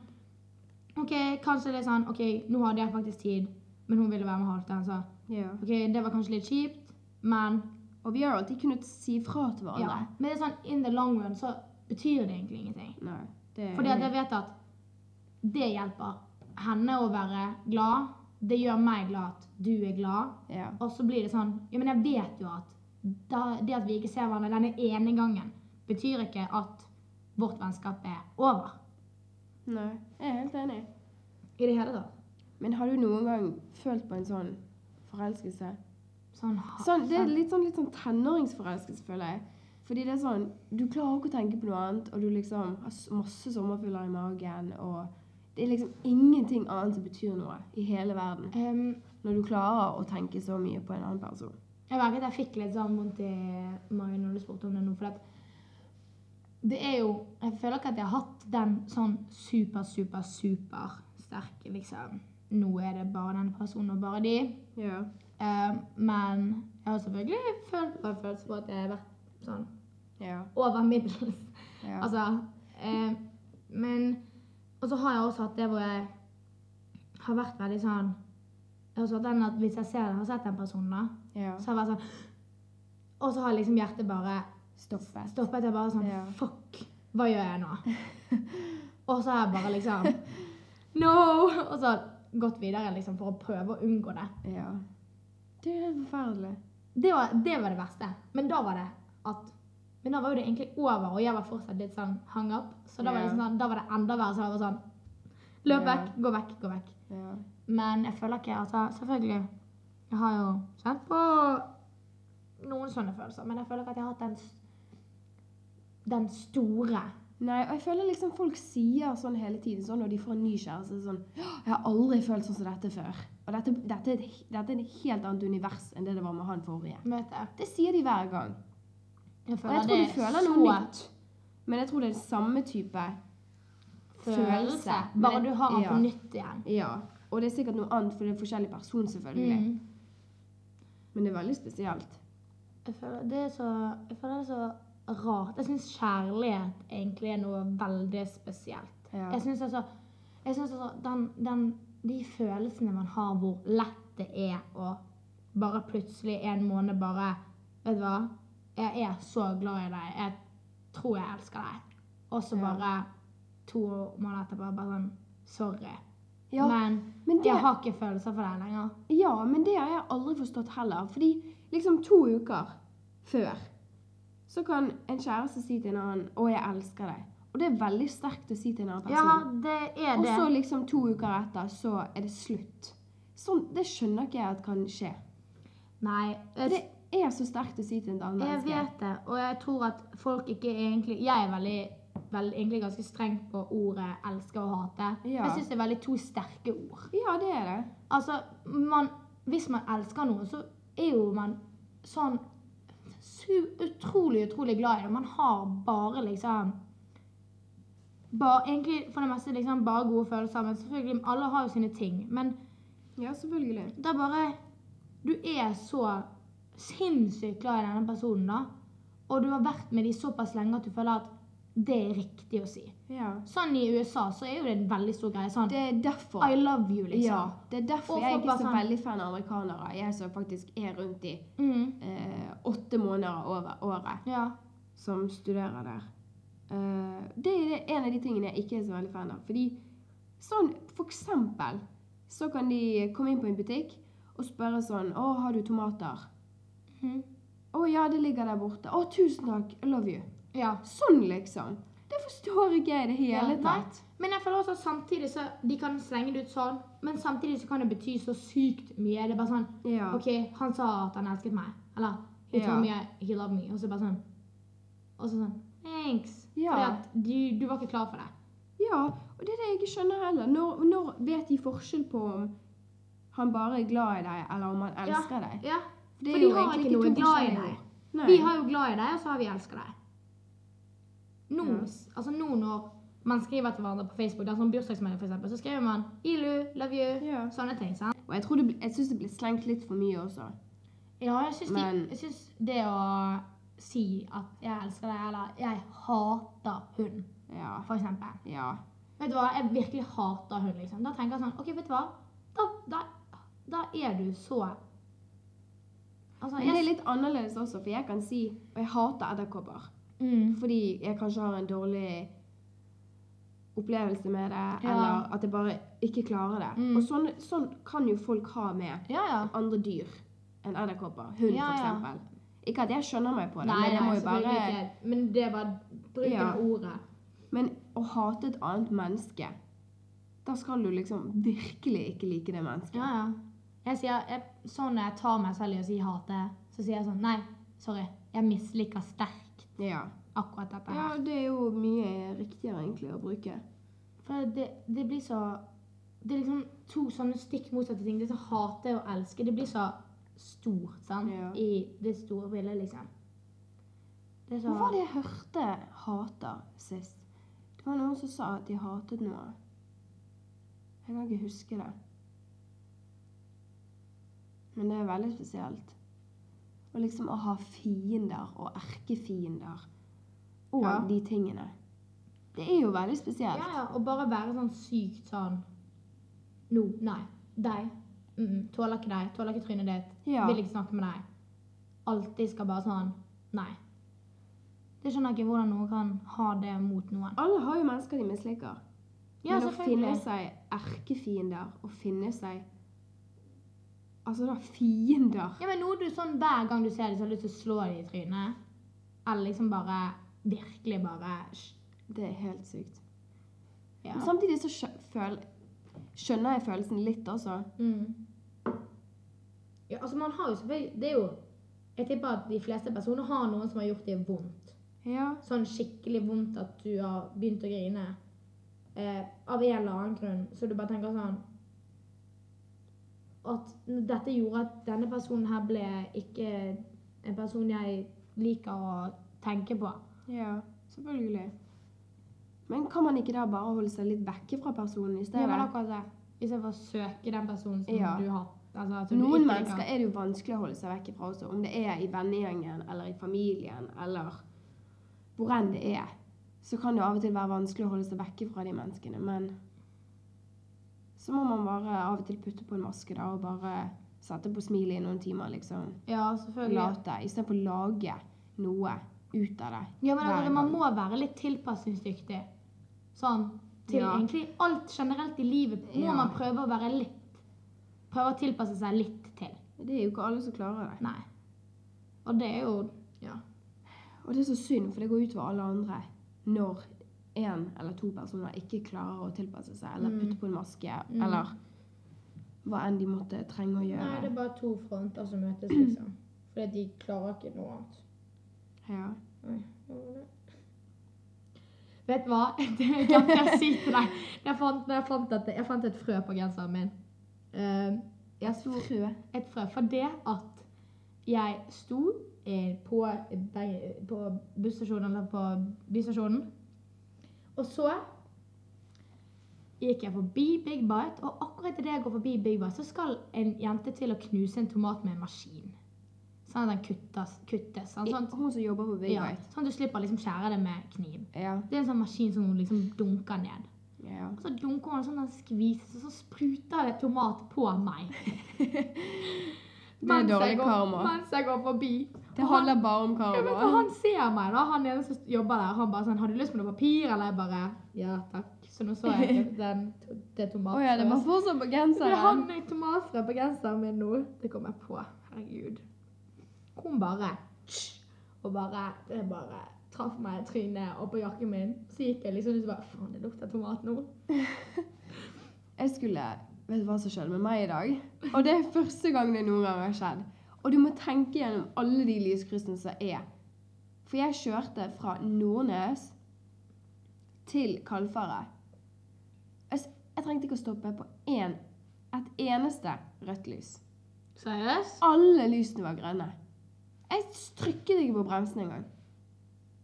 Speaker 2: OK, kanskje det er sånn OK, nå hadde jeg faktisk tid, men hun ville være med Halvdan, så
Speaker 1: Ja.
Speaker 2: OK, det var kanskje litt kjipt, men
Speaker 1: Og vi har alltid kunnet si fra til
Speaker 2: ja.
Speaker 1: hverandre.
Speaker 2: Men det er sånn in the long run så betyr det egentlig ingenting.
Speaker 1: Nei, det er
Speaker 2: Fordi at jeg vet at det hjelper henne å være glad. Det gjør meg glad at du er glad.
Speaker 1: ja.
Speaker 2: Og så blir det sånn Ja, men jeg vet jo at da, det at vi ikke ser hverandre denne ene gangen, betyr ikke at vårt vennskap er over.
Speaker 1: Nei, jeg er helt enig.
Speaker 2: I det hele tatt.
Speaker 1: Men har du noen gang følt på en sånn forelskelse?
Speaker 2: Sånn, ha-
Speaker 1: Sånn, det er litt sånn, litt sånn tenåringsforelskelse, føler jeg. Fordi det er sånn, Du klarer ikke å tenke på noe annet, og du liksom har s- masse sommerfugler i magen. og Det er liksom ingenting annet som betyr noe i hele verden.
Speaker 2: Ehm,
Speaker 1: Når du klarer å tenke så mye på en annen person.
Speaker 2: jeg merker at jeg fikk litt sånn vondt i magen når du spurte om det nå. For at det er jo Jeg føler ikke at jeg har hatt den sånn super, super, super sterke liksom Nå er det bare den personen og bare de.
Speaker 1: Ja.
Speaker 2: Ehm, men jeg har selvfølgelig følt på en følelse på at jeg har vært sånn
Speaker 1: Ja.
Speaker 2: over middels.
Speaker 1: ja.
Speaker 2: Altså ehm, Men Og så har jeg også hatt det hvor jeg har vært veldig sånn Jeg har også hatt den at hvis jeg ser, har sett den personen, da
Speaker 1: ja.
Speaker 2: Så har jeg vært sånn Og så har liksom hjertet bare
Speaker 1: Stoppet.
Speaker 2: stoppet. Jeg bare sånn
Speaker 1: Ja.
Speaker 2: Fuck, hva gjør jeg nå? og så har jeg bare liksom No! Og så gått videre liksom for å prøve å unngå det.
Speaker 1: Ja. Det er helt forferdelig.
Speaker 2: Det var det, var det verste. Men da var det at Men da var jo det egentlig over, og jeg var fortsatt litt sånn hang up. Så da var, det
Speaker 1: Ja.
Speaker 2: liksom sånn, da var det enda verre. Så jeg var sånn Løp
Speaker 1: Ja.
Speaker 2: vekk, gå vekk, gå vekk.
Speaker 1: Ja.
Speaker 2: Men jeg føler ikke altså, Selvfølgelig. Jeg har jo kjent på noen sånne følelser, men jeg føler ikke at jeg har hatt den, s- den store.
Speaker 1: Nei, og jeg føler liksom folk sier sånn hele tiden sånn når de får en ny kjæreste sånn «Åh, 'Jeg har aldri følt sånn som dette før.' Og dette, dette, er et, he- dette er et helt annet univers enn det det var med han forrige.
Speaker 2: Møte.
Speaker 1: Det sier de hver gang.
Speaker 2: Jeg
Speaker 1: Og jeg
Speaker 2: føler det
Speaker 1: tror du
Speaker 2: er
Speaker 1: føler
Speaker 2: så
Speaker 1: noe nytt. Men jeg tror det er samme type
Speaker 2: følelse. Bare
Speaker 1: Men-
Speaker 2: du har den
Speaker 1: ja,
Speaker 2: på nytt igjen.
Speaker 1: Ja. Og det er sikkert noe annet, for det er forskjellig person, selvfølgelig.
Speaker 2: Mm.
Speaker 1: Men det er veldig spesielt.
Speaker 2: Jeg, føler det er så, jeg føler det er så rart. Jeg syns kjærlighet egentlig er noe veldig spesielt.
Speaker 1: Ja.
Speaker 2: Jeg syns altså, jeg synes altså den, den, De følelsene man har hvor lett det er å bare plutselig en måned bare Vet du hva? Jeg er så glad i deg. Jeg tror jeg elsker deg. Og så
Speaker 1: Ja.
Speaker 2: bare to måneder etterpå bare sånn Sorry.
Speaker 1: Ja,
Speaker 2: Men
Speaker 1: men det,
Speaker 2: jeg har ikke følelser for deg lenger.
Speaker 1: ja, men det har jeg aldri forstått heller. Fordi liksom to uker før så kan en kjæreste si til en annen 'Å, jeg elsker deg'. Og det er veldig sterkt å si til en annen
Speaker 2: Ja,
Speaker 1: person.
Speaker 2: det er
Speaker 1: og
Speaker 2: det.
Speaker 1: så liksom to uker etter, så er det slutt. Sånn, det skjønner ikke jeg at kan skje.
Speaker 2: Nei.
Speaker 1: For
Speaker 2: Jeg,
Speaker 1: Det er så sterkt å si til et annet
Speaker 2: jeg
Speaker 1: menneske.
Speaker 2: vet det, og jeg tror at folk ikke egentlig Jeg er veldig, vel, egentlig ganske streng på ordet 'elske' og 'hate'.
Speaker 1: Ja.
Speaker 2: Jeg syns det er veldig to sterke ord.
Speaker 1: Ja, det er det.
Speaker 2: Altså, man, hvis man elsker noen, så er jo man sånn su utrolig, utrolig glad i det. Man har bare liksom bare, Egentlig for det meste liksom bare gode følelser. Men selvfølgelig, alle har jo sine ting. Men
Speaker 1: Ja, selvfølgelig.
Speaker 2: da bare Du er så sinnssykt glad i denne personen, da. Og du har vært med dem såpass lenge at du føler at det er riktig å si.
Speaker 1: Ja.
Speaker 2: Sånn i USA så er jo det en veldig stor greie. Sånn
Speaker 1: Det er derfor.
Speaker 2: I love you,
Speaker 1: Ja,
Speaker 2: liksom.
Speaker 1: det er derfor
Speaker 2: Og
Speaker 1: jeg er
Speaker 2: folk
Speaker 1: ikke
Speaker 2: bare
Speaker 1: så
Speaker 2: sånn-
Speaker 1: veldig fan av amerikanere. Jeg som faktisk er rundt i
Speaker 2: Mm,
Speaker 1: eh, åtte måneder over året
Speaker 2: ja.
Speaker 1: som studerer der. Eh, det er det- en av de tingene jeg ikke er så veldig fan av. Fordi sånn, for eksempel, så kan de komme inn på en butikk og spørre sånn Å, har du tomater?
Speaker 2: Mhm.
Speaker 1: Å ja, det ligger der borte. Å, tusen takk. I love you.
Speaker 2: ja.
Speaker 1: Sånn, liksom. Det forstår ikke jeg i det hele
Speaker 2: Ja, nei.
Speaker 1: tatt.
Speaker 2: Men jeg føler også at samtidig så De kan slenge det ut sånn, men samtidig så kan det bety så sykt mye. Det er bare sånn
Speaker 1: Ja.
Speaker 2: OK, han sa at han elsket meg. Eller He
Speaker 1: Ja.
Speaker 2: told me I- he loved me. Og så bare sånn. Og så sånn Thanks.
Speaker 1: Ja.
Speaker 2: Fordi at du, du var ikke klar for det.
Speaker 1: Ja, og det er det jeg ikke skjønner heller. Når, når vet de forskjell på om han bare er glad i deg, eller om han elsker deg?
Speaker 2: Ja.
Speaker 1: For det
Speaker 2: For
Speaker 1: er
Speaker 2: de
Speaker 1: jo
Speaker 2: har
Speaker 1: egentlig
Speaker 2: ikke noe
Speaker 1: to
Speaker 2: glad i
Speaker 1: forskjellige
Speaker 2: deg.
Speaker 1: ord. Nei.
Speaker 2: Vi har jo glad i deg, og så har vi elsker deg. Nå,
Speaker 1: Ja.
Speaker 2: altså nå når man skriver til hverandre på Facebook, det er sånn bursdagsmelding for eksempel, så skriver man Ilu, love you,
Speaker 1: Ja.
Speaker 2: sånne ting. sant?
Speaker 1: Og jeg, tror det, blir- jeg syns det blir slengt litt for mye også.
Speaker 2: Ja, jeg syns, de,
Speaker 1: Men-
Speaker 2: jeg syns det å si at 'jeg elsker deg' eller 'jeg hater hund',
Speaker 1: Ja.
Speaker 2: for eksempel.
Speaker 1: ja.
Speaker 2: Vet du hva, jeg virkelig hater hund, liksom. Da tenker jeg sånn OK, vet du hva, da, da, da er du så Altså,
Speaker 1: Men det er litt annerledes også, for jeg kan si Og jeg hater edderkopper.
Speaker 2: mm,
Speaker 1: Fordi jeg kanskje har en dårlig opplevelse med det,
Speaker 2: Ja.
Speaker 1: eller at jeg bare ikke klarer det.
Speaker 2: Mm.
Speaker 1: Og sånn, sånn kan jo folk ha med
Speaker 2: Ja, ja.
Speaker 1: andre dyr enn edderkopper. Hund,
Speaker 2: Ja,
Speaker 1: for
Speaker 2: ja.
Speaker 1: eksempel. Ikke at jeg skjønner meg på det,
Speaker 2: Nei,
Speaker 1: men jeg må
Speaker 2: nei,
Speaker 1: jo bare
Speaker 2: selvfølgelig ikke. Men det er bare bruken
Speaker 1: Ja.
Speaker 2: av ordet.
Speaker 1: Men å hate et annet menneske Da skal du liksom virkelig ikke like det mennesket.
Speaker 2: Ja, ja. Jeg sier, jeg, sånn når jeg tar meg selv i å si hate, så sier jeg sånn Nei, sorry. Jeg misliker sterkt
Speaker 1: Ja.
Speaker 2: akkurat dette.
Speaker 1: ja,
Speaker 2: her.
Speaker 1: det er jo mye riktigere egentlig å bruke.
Speaker 2: For det, det blir så Det er liksom to sånne stikk motsatte ting. Det som hate og elske, det blir så stort, sant?
Speaker 1: Ja.
Speaker 2: I det store bildet, liksom. Det er så
Speaker 1: Hva var det jeg hørte hater sist? Det var noen som sa at de hatet noe. Jeg kan ikke huske det. Men det er veldig spesielt. Og liksom å ha fiender og erkefiender og
Speaker 2: Ja.
Speaker 1: de tingene. Det er jo veldig
Speaker 2: Ja,
Speaker 1: spesielt.
Speaker 2: ja. Og bare være sånn sykt sånn No, nei. Deg. Mm -mm, tåler ikke deg. Tåler ikke trynet ditt.
Speaker 1: Ja.
Speaker 2: Vil ikke snakke med deg. Alltid skal bare sånn Nei. Det skjønner jeg ikke hvordan noen kan ha det mot noen.
Speaker 1: Alle har jo mennesker de misliker.
Speaker 2: Ja,
Speaker 1: Men å finne
Speaker 2: selvfølgelig.
Speaker 1: seg erkefiender og finne seg Altså da fiender.
Speaker 2: Ja, men noe du sånn Hver gang du ser dem, så har du lyst til å slå dem i trynet. Eller liksom bare Virkelig bare sh-
Speaker 1: Det er helt sykt.
Speaker 2: ja.
Speaker 1: Men samtidig så skjø- føl, skjønner jeg følelsen litt også.
Speaker 2: Mm. ja, altså man har jo selvfølgelig Det er jo Jeg tipper at de fleste personer har noen som har gjort det vondt.
Speaker 1: Ja.
Speaker 2: sånn skikkelig vondt at du har begynt å grine eh, av en eller annen grunn, så du bare tenker sånn At dette gjorde at denne personen her ble ikke en person jeg liker å tenke på.
Speaker 1: ja, selvfølgelig. Men kan man ikke da bare holde seg litt vekke fra personen i
Speaker 2: Det
Speaker 1: stedet?
Speaker 2: var akkurat det. I stedet for å søke den personen som
Speaker 1: Ja.
Speaker 2: du har. Altså, at du
Speaker 1: Noen
Speaker 2: ikke
Speaker 1: mennesker
Speaker 2: liker.
Speaker 1: er det jo vanskelig å holde seg vekk fra også, om det er i vennegjengen eller i familien eller hvor enn det er. Så kan det av og til være vanskelig å holde seg vekk fra de menneskene, men så må man bare av og til putte på en maske da, og bare sette på smilet i noen timer, liksom.
Speaker 2: Ja,
Speaker 1: Og
Speaker 2: selvfølgelig.
Speaker 1: Late, istedenfor å lage noe ut av det.
Speaker 2: Ja, men
Speaker 1: hver
Speaker 2: altså, Man
Speaker 1: gang.
Speaker 2: må være litt tilpasningsdyktig. Sånn til
Speaker 1: Ja.
Speaker 2: egentlig alt generelt i livet må
Speaker 1: Ja.
Speaker 2: man prøve å være litt Prøve å tilpasse seg litt til.
Speaker 1: Det er jo ikke alle som klarer det.
Speaker 2: Nei. Og det er jo Ja.
Speaker 1: Og det er så synd, for det går utover alle andre når én eller to personer ikke klarer å tilpasse seg eller
Speaker 2: Mm.
Speaker 1: putte på en maske
Speaker 2: Mm.
Speaker 1: eller hva enn de måtte trenge å
Speaker 2: Nei, det
Speaker 1: gjøre.
Speaker 2: er bare to fronter som møtes, liksom. Fordi de klarer ikke noe annet.
Speaker 1: Ja.
Speaker 2: Nei, hva var det? Vet du hva? Det glemte jeg å si til deg. Jeg fant, jeg fant, et, jeg fant et frø på genseren min. Eh, jeg sto
Speaker 1: Frø.
Speaker 2: et frø for det at jeg sto eh, på, Berg- på busstasjonen, eller på bystasjonen, og så gikk jeg forbi Big Bite, og akkurat idet jeg går forbi Big Bite, så skal en jente til å knuse en tomat med en maskin. Sånn at den kuttes. kuttes sånn, sånn,
Speaker 1: Hun som jobber på Big
Speaker 2: ja,
Speaker 1: Bite.
Speaker 2: sånn at du slipper å liksom skjære det med kniv.
Speaker 1: Ja.
Speaker 2: Det er en sånn maskin som hun liksom dunker ned.
Speaker 1: Ja. ja.
Speaker 2: Og så dunker hun sånn den skvises, og så spruter det tomat på meg.
Speaker 1: Det er dårlig
Speaker 2: jeg går-
Speaker 1: karma.
Speaker 2: Mens jeg går forbi.
Speaker 1: Det
Speaker 2: Og han-
Speaker 1: handler bare om
Speaker 2: Ja, men for
Speaker 1: karma.
Speaker 2: han ser meg, da. Han ene som jobber der. Han bare sånn 'Har du lyst på noe papir?' Eller jeg bare 'Ja, takk'. Så nå så jeg den, det
Speaker 1: Å sånn
Speaker 2: tomatfrøet.
Speaker 1: ja, det var fortsatt på
Speaker 2: Det
Speaker 1: genseren.
Speaker 2: hang et tomatfrø på genseren min nå. Det kom jeg på. Herregud. Hun bare tsk, Og bare Det bare traff meg i trynet og på jakken min. Så gikk jeg liksom ut og bare 'Faen, det lukter tomat nå'.
Speaker 1: Jeg skulle Vet du hva som skjedde med meg i dag? Og det er første gang det noen gang har skjedd. Og du må tenke gjennom alle de lyskryssene som er. For jeg kjørte fra Nordnes til Kalfaret. Jeg s- jeg trengte ikke å stoppe på en, et eneste rødt lys.
Speaker 2: Seriøst?
Speaker 1: Alle lysene var grønne. Jeg trykket ikke på bremsen engang.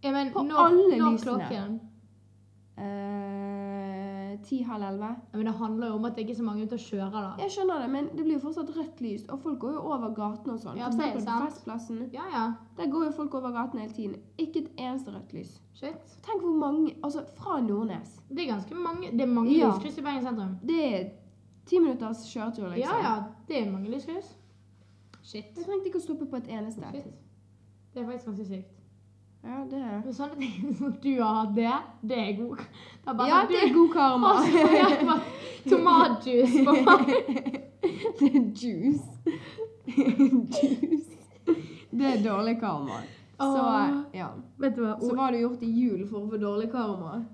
Speaker 2: Ja, men
Speaker 1: På
Speaker 2: når,
Speaker 1: alle
Speaker 2: når
Speaker 1: lysene.
Speaker 2: klokken?
Speaker 1: Eh, Ti, halv elleve.
Speaker 2: Ja, men det handler jo om at det ikke er så mange ute og kjører, da.
Speaker 1: Jeg skjønner det, men det blir jo fortsatt rødt lys, og folk går jo over gatene og sånn.
Speaker 2: Ja,
Speaker 1: For
Speaker 2: det er
Speaker 1: eksempel på
Speaker 2: sant.
Speaker 1: Festplassen,
Speaker 2: Ja, ja.
Speaker 1: der går jo folk over gatene hele tiden. Ikke et eneste rødt lys.
Speaker 2: Shit.
Speaker 1: Tenk hvor mange Altså, fra Nordnes.
Speaker 2: Det er ganske mange Det er mange
Speaker 1: Ja. Liksom.
Speaker 2: lyskryss i Bergen sentrum.
Speaker 1: Det er ti minutters kjøretur, liksom.
Speaker 2: Ja, ja. Det er mange lyskryss. Shit.
Speaker 1: Jeg trengte ikke å stoppe på et eneste.
Speaker 2: Shit. Det er faktisk ganske sykt.
Speaker 1: Ja, det er
Speaker 2: Men sånne ting som du har hatt det, det er god. Det er bare
Speaker 1: Ja,
Speaker 2: sånn,
Speaker 1: det er
Speaker 2: du-
Speaker 1: god karma.
Speaker 2: Og så har jeg fått Tomatjuice på meg.
Speaker 1: det er juice. juice. Det er dårlig karma. Så,
Speaker 2: Åh.
Speaker 1: ja.
Speaker 2: Vet du hva?
Speaker 1: Så hva har du gjort i jul for å få dårlig karma?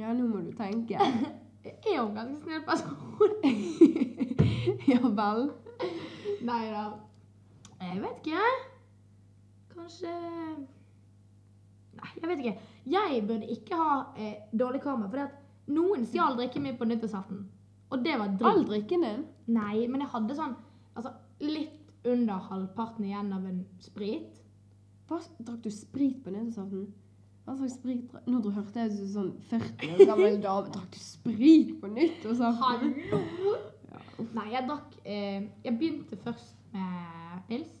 Speaker 1: Ja, nå må du tenke.
Speaker 2: Jeg er jo en ganske snill person.
Speaker 1: ja vel.
Speaker 2: Nei da. Jeg vet ikke. Kanskje Nei, jeg vet ikke. Jeg burde ikke ha eh, dårlig karma, fordi at noen stjal drikken min på nyttårsaften. Og det var
Speaker 1: All
Speaker 2: dritt.
Speaker 1: drikken din.
Speaker 2: Nei, men jeg hadde sånn altså, litt under halvparten igjen av en sprit.
Speaker 1: Hva, drakk du sprit på nyttårsaften? Hva slags sprit drakk Nå dro- hørte jeg ut som en sånn 40 år gammel dame. Drakk du sprit på nyttårsaften?
Speaker 2: Hallo! Nei, jeg drakk eh, Jeg begynte først med pils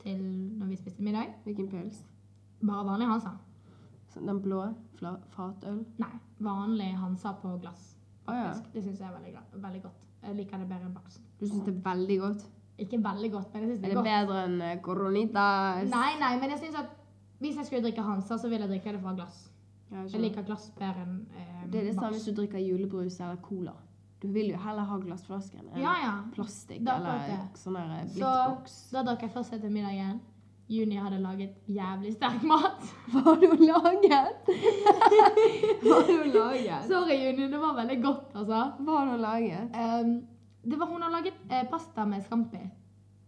Speaker 2: til når vi spiste middag.
Speaker 1: Hvilken pils?
Speaker 2: Bare vanlig Hansa.
Speaker 1: Sånn, Den blå? Fla, fatøl?
Speaker 2: Nei, vanlig Hansa på glass.
Speaker 1: Å ja.
Speaker 2: faktisk. Det syns jeg er veldig, gla- veldig godt. Jeg liker det bedre enn bakst.
Speaker 1: Du syns det er veldig godt?
Speaker 2: Ikke veldig godt, men jeg syns
Speaker 1: Er
Speaker 2: det er
Speaker 1: det
Speaker 2: godt.
Speaker 1: bedre enn eh, Coronitas?
Speaker 2: Nei, nei, men jeg synes at hvis jeg skulle drikke Hansa, så ville jeg drikke det fra glass.
Speaker 1: Ja, jeg
Speaker 2: Jeg
Speaker 1: skjønner.
Speaker 2: liker glass bedre enn eh,
Speaker 1: det er det samme
Speaker 2: bakst.
Speaker 1: hvis du drikker julebrus eller cola. Du vil jo heller ha glassflasken enn
Speaker 2: Ja, ja.
Speaker 1: plastikk
Speaker 2: Det er
Speaker 1: eller
Speaker 2: akkurat
Speaker 1: sånn der eh,
Speaker 2: Så-
Speaker 1: blittboks.
Speaker 2: Da drakk jeg først etter middagen. Juni hadde laget jævlig sterk mat.
Speaker 1: Hva har du laget? Hva har du laget?
Speaker 2: Sorry, Juni. Det var veldig godt, altså.
Speaker 1: Hva har du laget?
Speaker 2: Ehm, det var Hun har laget eh, pasta med scampi.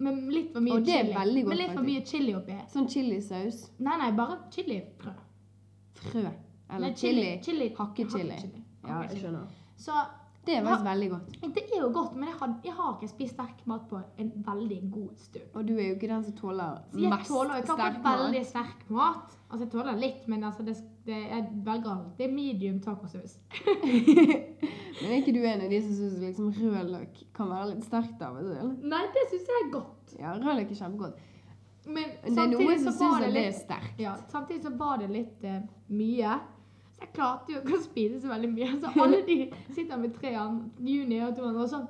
Speaker 2: Med litt for mye
Speaker 1: Og det er
Speaker 2: chili.
Speaker 1: veldig godt,
Speaker 2: med litt for mye chili oppi.
Speaker 1: Sånn chilisaus.
Speaker 2: Nei, nei, bare chilifrø.
Speaker 1: Frø. Eller
Speaker 2: Nei,
Speaker 1: chili.
Speaker 2: chili.
Speaker 1: Hakkechili.
Speaker 2: Hakkechili.
Speaker 1: Ja, jeg
Speaker 2: Hakkechili.
Speaker 1: skjønner.
Speaker 2: Så
Speaker 1: Det er faktisk veldig godt.
Speaker 2: det er jo godt, men jeg har, jeg har ikke spist sterk mat på en veldig god stund.
Speaker 1: Og du er jo ikke den som tåler
Speaker 2: Så jeg
Speaker 1: mest
Speaker 2: tåler jo ikke
Speaker 1: sterk
Speaker 2: akkurat
Speaker 1: mat.
Speaker 2: veldig sterk mat. Altså, jeg tåler litt, men altså, det, det, jeg velger alltid medium tacosaus.
Speaker 1: Men er ikke du en av de som syns liksom rødløk kan være litt sterkt av og til?
Speaker 2: Nei, det syns jeg er godt.
Speaker 1: Ja, rødløk er kjempegodt.
Speaker 2: Men
Speaker 1: Men det er
Speaker 2: samtidig
Speaker 1: noen som
Speaker 2: så var
Speaker 1: syns
Speaker 2: det
Speaker 1: at det
Speaker 2: litt
Speaker 1: er sterkt.
Speaker 2: Ja, samtidig så var det litt eh, mye. Så jeg klarte jo ikke å spise så veldig mye. Så alle de sitter med tre andre, Juni og to andre, og sånn.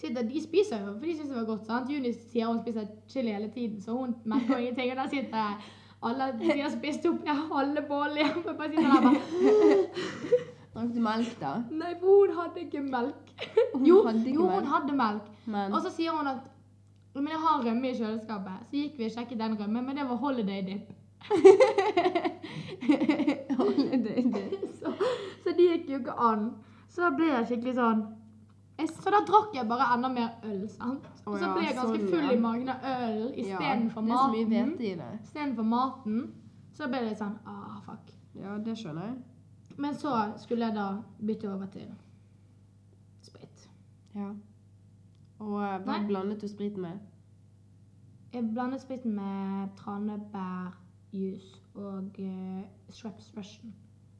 Speaker 2: Sitter, de spiser jo, for de syns det var godt. sant? Juni sier hun spiser chili hele tiden, så hun merker jo ingenting. Og der sitter jeg. Alle de har spist opp ja, halve bollen hjemme. Jeg bare sitter der bare
Speaker 1: Drakk du melk, da?
Speaker 2: Nei, for hun hadde ikke melk.
Speaker 1: Hun
Speaker 2: Jo,
Speaker 1: hadde ikke
Speaker 2: jo hun
Speaker 1: melk.
Speaker 2: hadde altså- melk.
Speaker 1: Men
Speaker 2: Og så sier hun at Men jeg har rømme i kjøleskapet. Så gikk vi og sjekket den rømmen, men det var holiday dip.
Speaker 1: Alle døde.
Speaker 2: så, så det gikk jo ikke an. Så da ble jeg skikkelig sånn jeg, Så da drakk jeg bare enda mer øl, sant. Og
Speaker 1: Å
Speaker 2: så
Speaker 1: ja,
Speaker 2: ble jeg ganske
Speaker 1: sånn,
Speaker 2: full
Speaker 1: ja.
Speaker 2: i magen av øl
Speaker 1: Ja,
Speaker 2: istedenfor
Speaker 1: Det er så mye
Speaker 2: maten.
Speaker 1: hvete i det.
Speaker 2: Istedenfor maten. Så ble det litt sånn ah, fuck.
Speaker 1: Ja, det skjønner jeg.
Speaker 2: Men så skulle jeg da bytte over til sprit.
Speaker 1: Ja. Og eh, hva
Speaker 2: Nei.
Speaker 1: blandet du sprit med?
Speaker 2: Jeg blandet spriten med tranebærjuice og uh, Shreps Russian.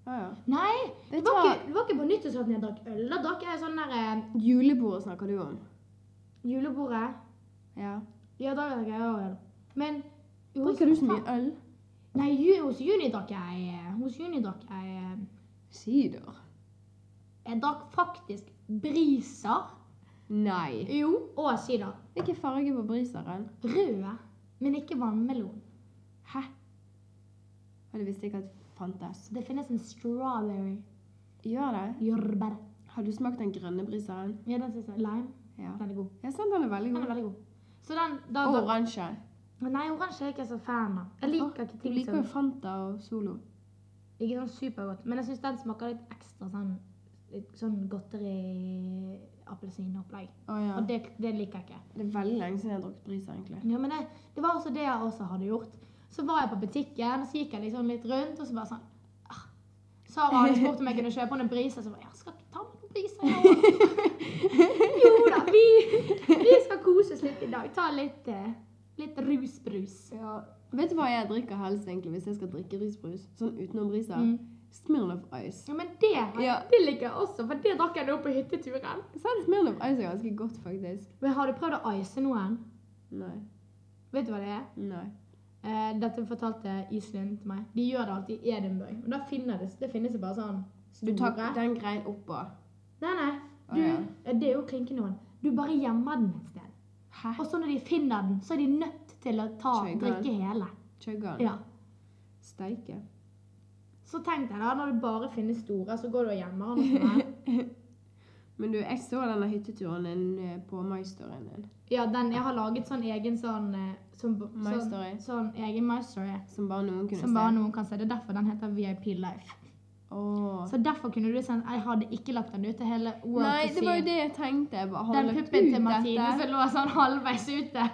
Speaker 1: Ja, ja.
Speaker 2: Nei!
Speaker 1: Det
Speaker 2: Det var,
Speaker 1: tar
Speaker 2: ikke, det var ikke på nyttårsaften jeg drakk øl. Da drakk jeg sånn der eh,
Speaker 1: Julebordet snakker du om.
Speaker 2: julebordet.
Speaker 1: Ja.
Speaker 2: Ja, da drakk jeg også øl. Men jo,
Speaker 1: Drikker du så mye øl?
Speaker 2: Nei, ju, hos Juni drakk jeg eh, Hos Juni drakk jeg eh,
Speaker 1: Sider.
Speaker 2: Jeg drakk faktisk briser.
Speaker 1: Nei.
Speaker 2: Jo. Og sider.
Speaker 1: Hvilken farge på briseren?
Speaker 2: Røde. Men ikke vannmelon.
Speaker 1: Hæ? Og det visste jeg ikke at fantes.
Speaker 2: Det finnes en strawberry.
Speaker 1: Gjør det?
Speaker 2: Jordbær.
Speaker 1: Har du smakt den grønne briseren?
Speaker 2: Ja, den synes jeg. Lime.
Speaker 1: Ja.
Speaker 2: Den er god.
Speaker 1: Jeg synes den er veldig
Speaker 2: Den
Speaker 1: god.
Speaker 2: er veldig god. Så den da,
Speaker 1: Og
Speaker 2: da,
Speaker 1: oransje.
Speaker 2: Nei, oransje er jeg ikke så fan av. Jeg liker ikke
Speaker 1: Du
Speaker 2: ting
Speaker 1: liker
Speaker 2: som
Speaker 1: jo Fanta og Solo.
Speaker 2: Ikke sånn supergodt, men jeg syns den smaker litt ekstra sånn litt sånn godteri appelsinopplegg.
Speaker 1: Å ja.
Speaker 2: Og det, det liker jeg ikke.
Speaker 1: Det er veldig lenge siden jeg har drukket briser, egentlig.
Speaker 2: Ja, men det, det var også det jeg også hadde gjort. Så var jeg på butikken, så gikk jeg liksom litt rundt, og så bare sånn ah. Sara hadde spurt om jeg kunne kjøpe henne en briser, så bare Ja, skal ikke ta med noen briser, jeg også?» Jo da, vi, vi skal koses litt i dag. Ta litt, eh, litt rusbrus.
Speaker 1: Ja. Vet du hva jeg drikker helst, egentlig, hvis jeg skal drikke risbrus? Sånn utenom briser?
Speaker 2: Mm.
Speaker 1: Smirnoff Ice.
Speaker 2: Ja, men det,
Speaker 1: Ja.
Speaker 2: det liker jeg også, for det drakk jeg nå på hytteturen.
Speaker 1: Sånn Smirnoff Ice er ganske godt, faktisk.
Speaker 2: Men har du prøvd å ice noen?
Speaker 1: Nei.
Speaker 2: Vet du hva det er?
Speaker 1: Nei.
Speaker 2: Eh, dette fortalte Iselin til meg. De gjør det alltid i Edinburgh. Og da finner det, det finnes det bare sånn
Speaker 1: Du tar
Speaker 2: store
Speaker 1: den greien oppå.
Speaker 2: Nei, nei.
Speaker 1: Å,
Speaker 2: Du,
Speaker 1: ja.
Speaker 2: eh, Det er jo klinkende vann. Du bare gjemmer den et sted.
Speaker 1: Hæ?
Speaker 2: Og så når de finner den, så er de nødt til å ta,
Speaker 1: Kjører.
Speaker 2: drikke hele.
Speaker 1: Chugger den?
Speaker 2: Ja.
Speaker 1: Steike.
Speaker 2: Så tenk deg da, når det bare finnes store, så går du og gjemmer den. og sånn her.
Speaker 1: Men du, jeg så denne hytteturen din eh, på MyStoryen din.
Speaker 2: Ja, den, Jeg har laget sånn egen sånn eh, sånn, bo-
Speaker 1: My
Speaker 2: sånn,
Speaker 1: Story.
Speaker 2: sånn egen My Story.
Speaker 1: Som bare noen kunne
Speaker 2: Som bare
Speaker 1: se.
Speaker 2: noen kan se. Det er derfor den heter VIP Life.
Speaker 1: Åh.
Speaker 2: Så derfor kunne du sendt Jeg hadde ikke lagt den ut til hele World
Speaker 1: Nei,
Speaker 2: to
Speaker 1: det
Speaker 2: see.
Speaker 1: var jo det jeg tenkte. Jeg bare, har
Speaker 2: Den
Speaker 1: han lagt
Speaker 2: puppen
Speaker 1: ut
Speaker 2: til Martine
Speaker 1: dette?
Speaker 2: som lå sånn halvveis ute.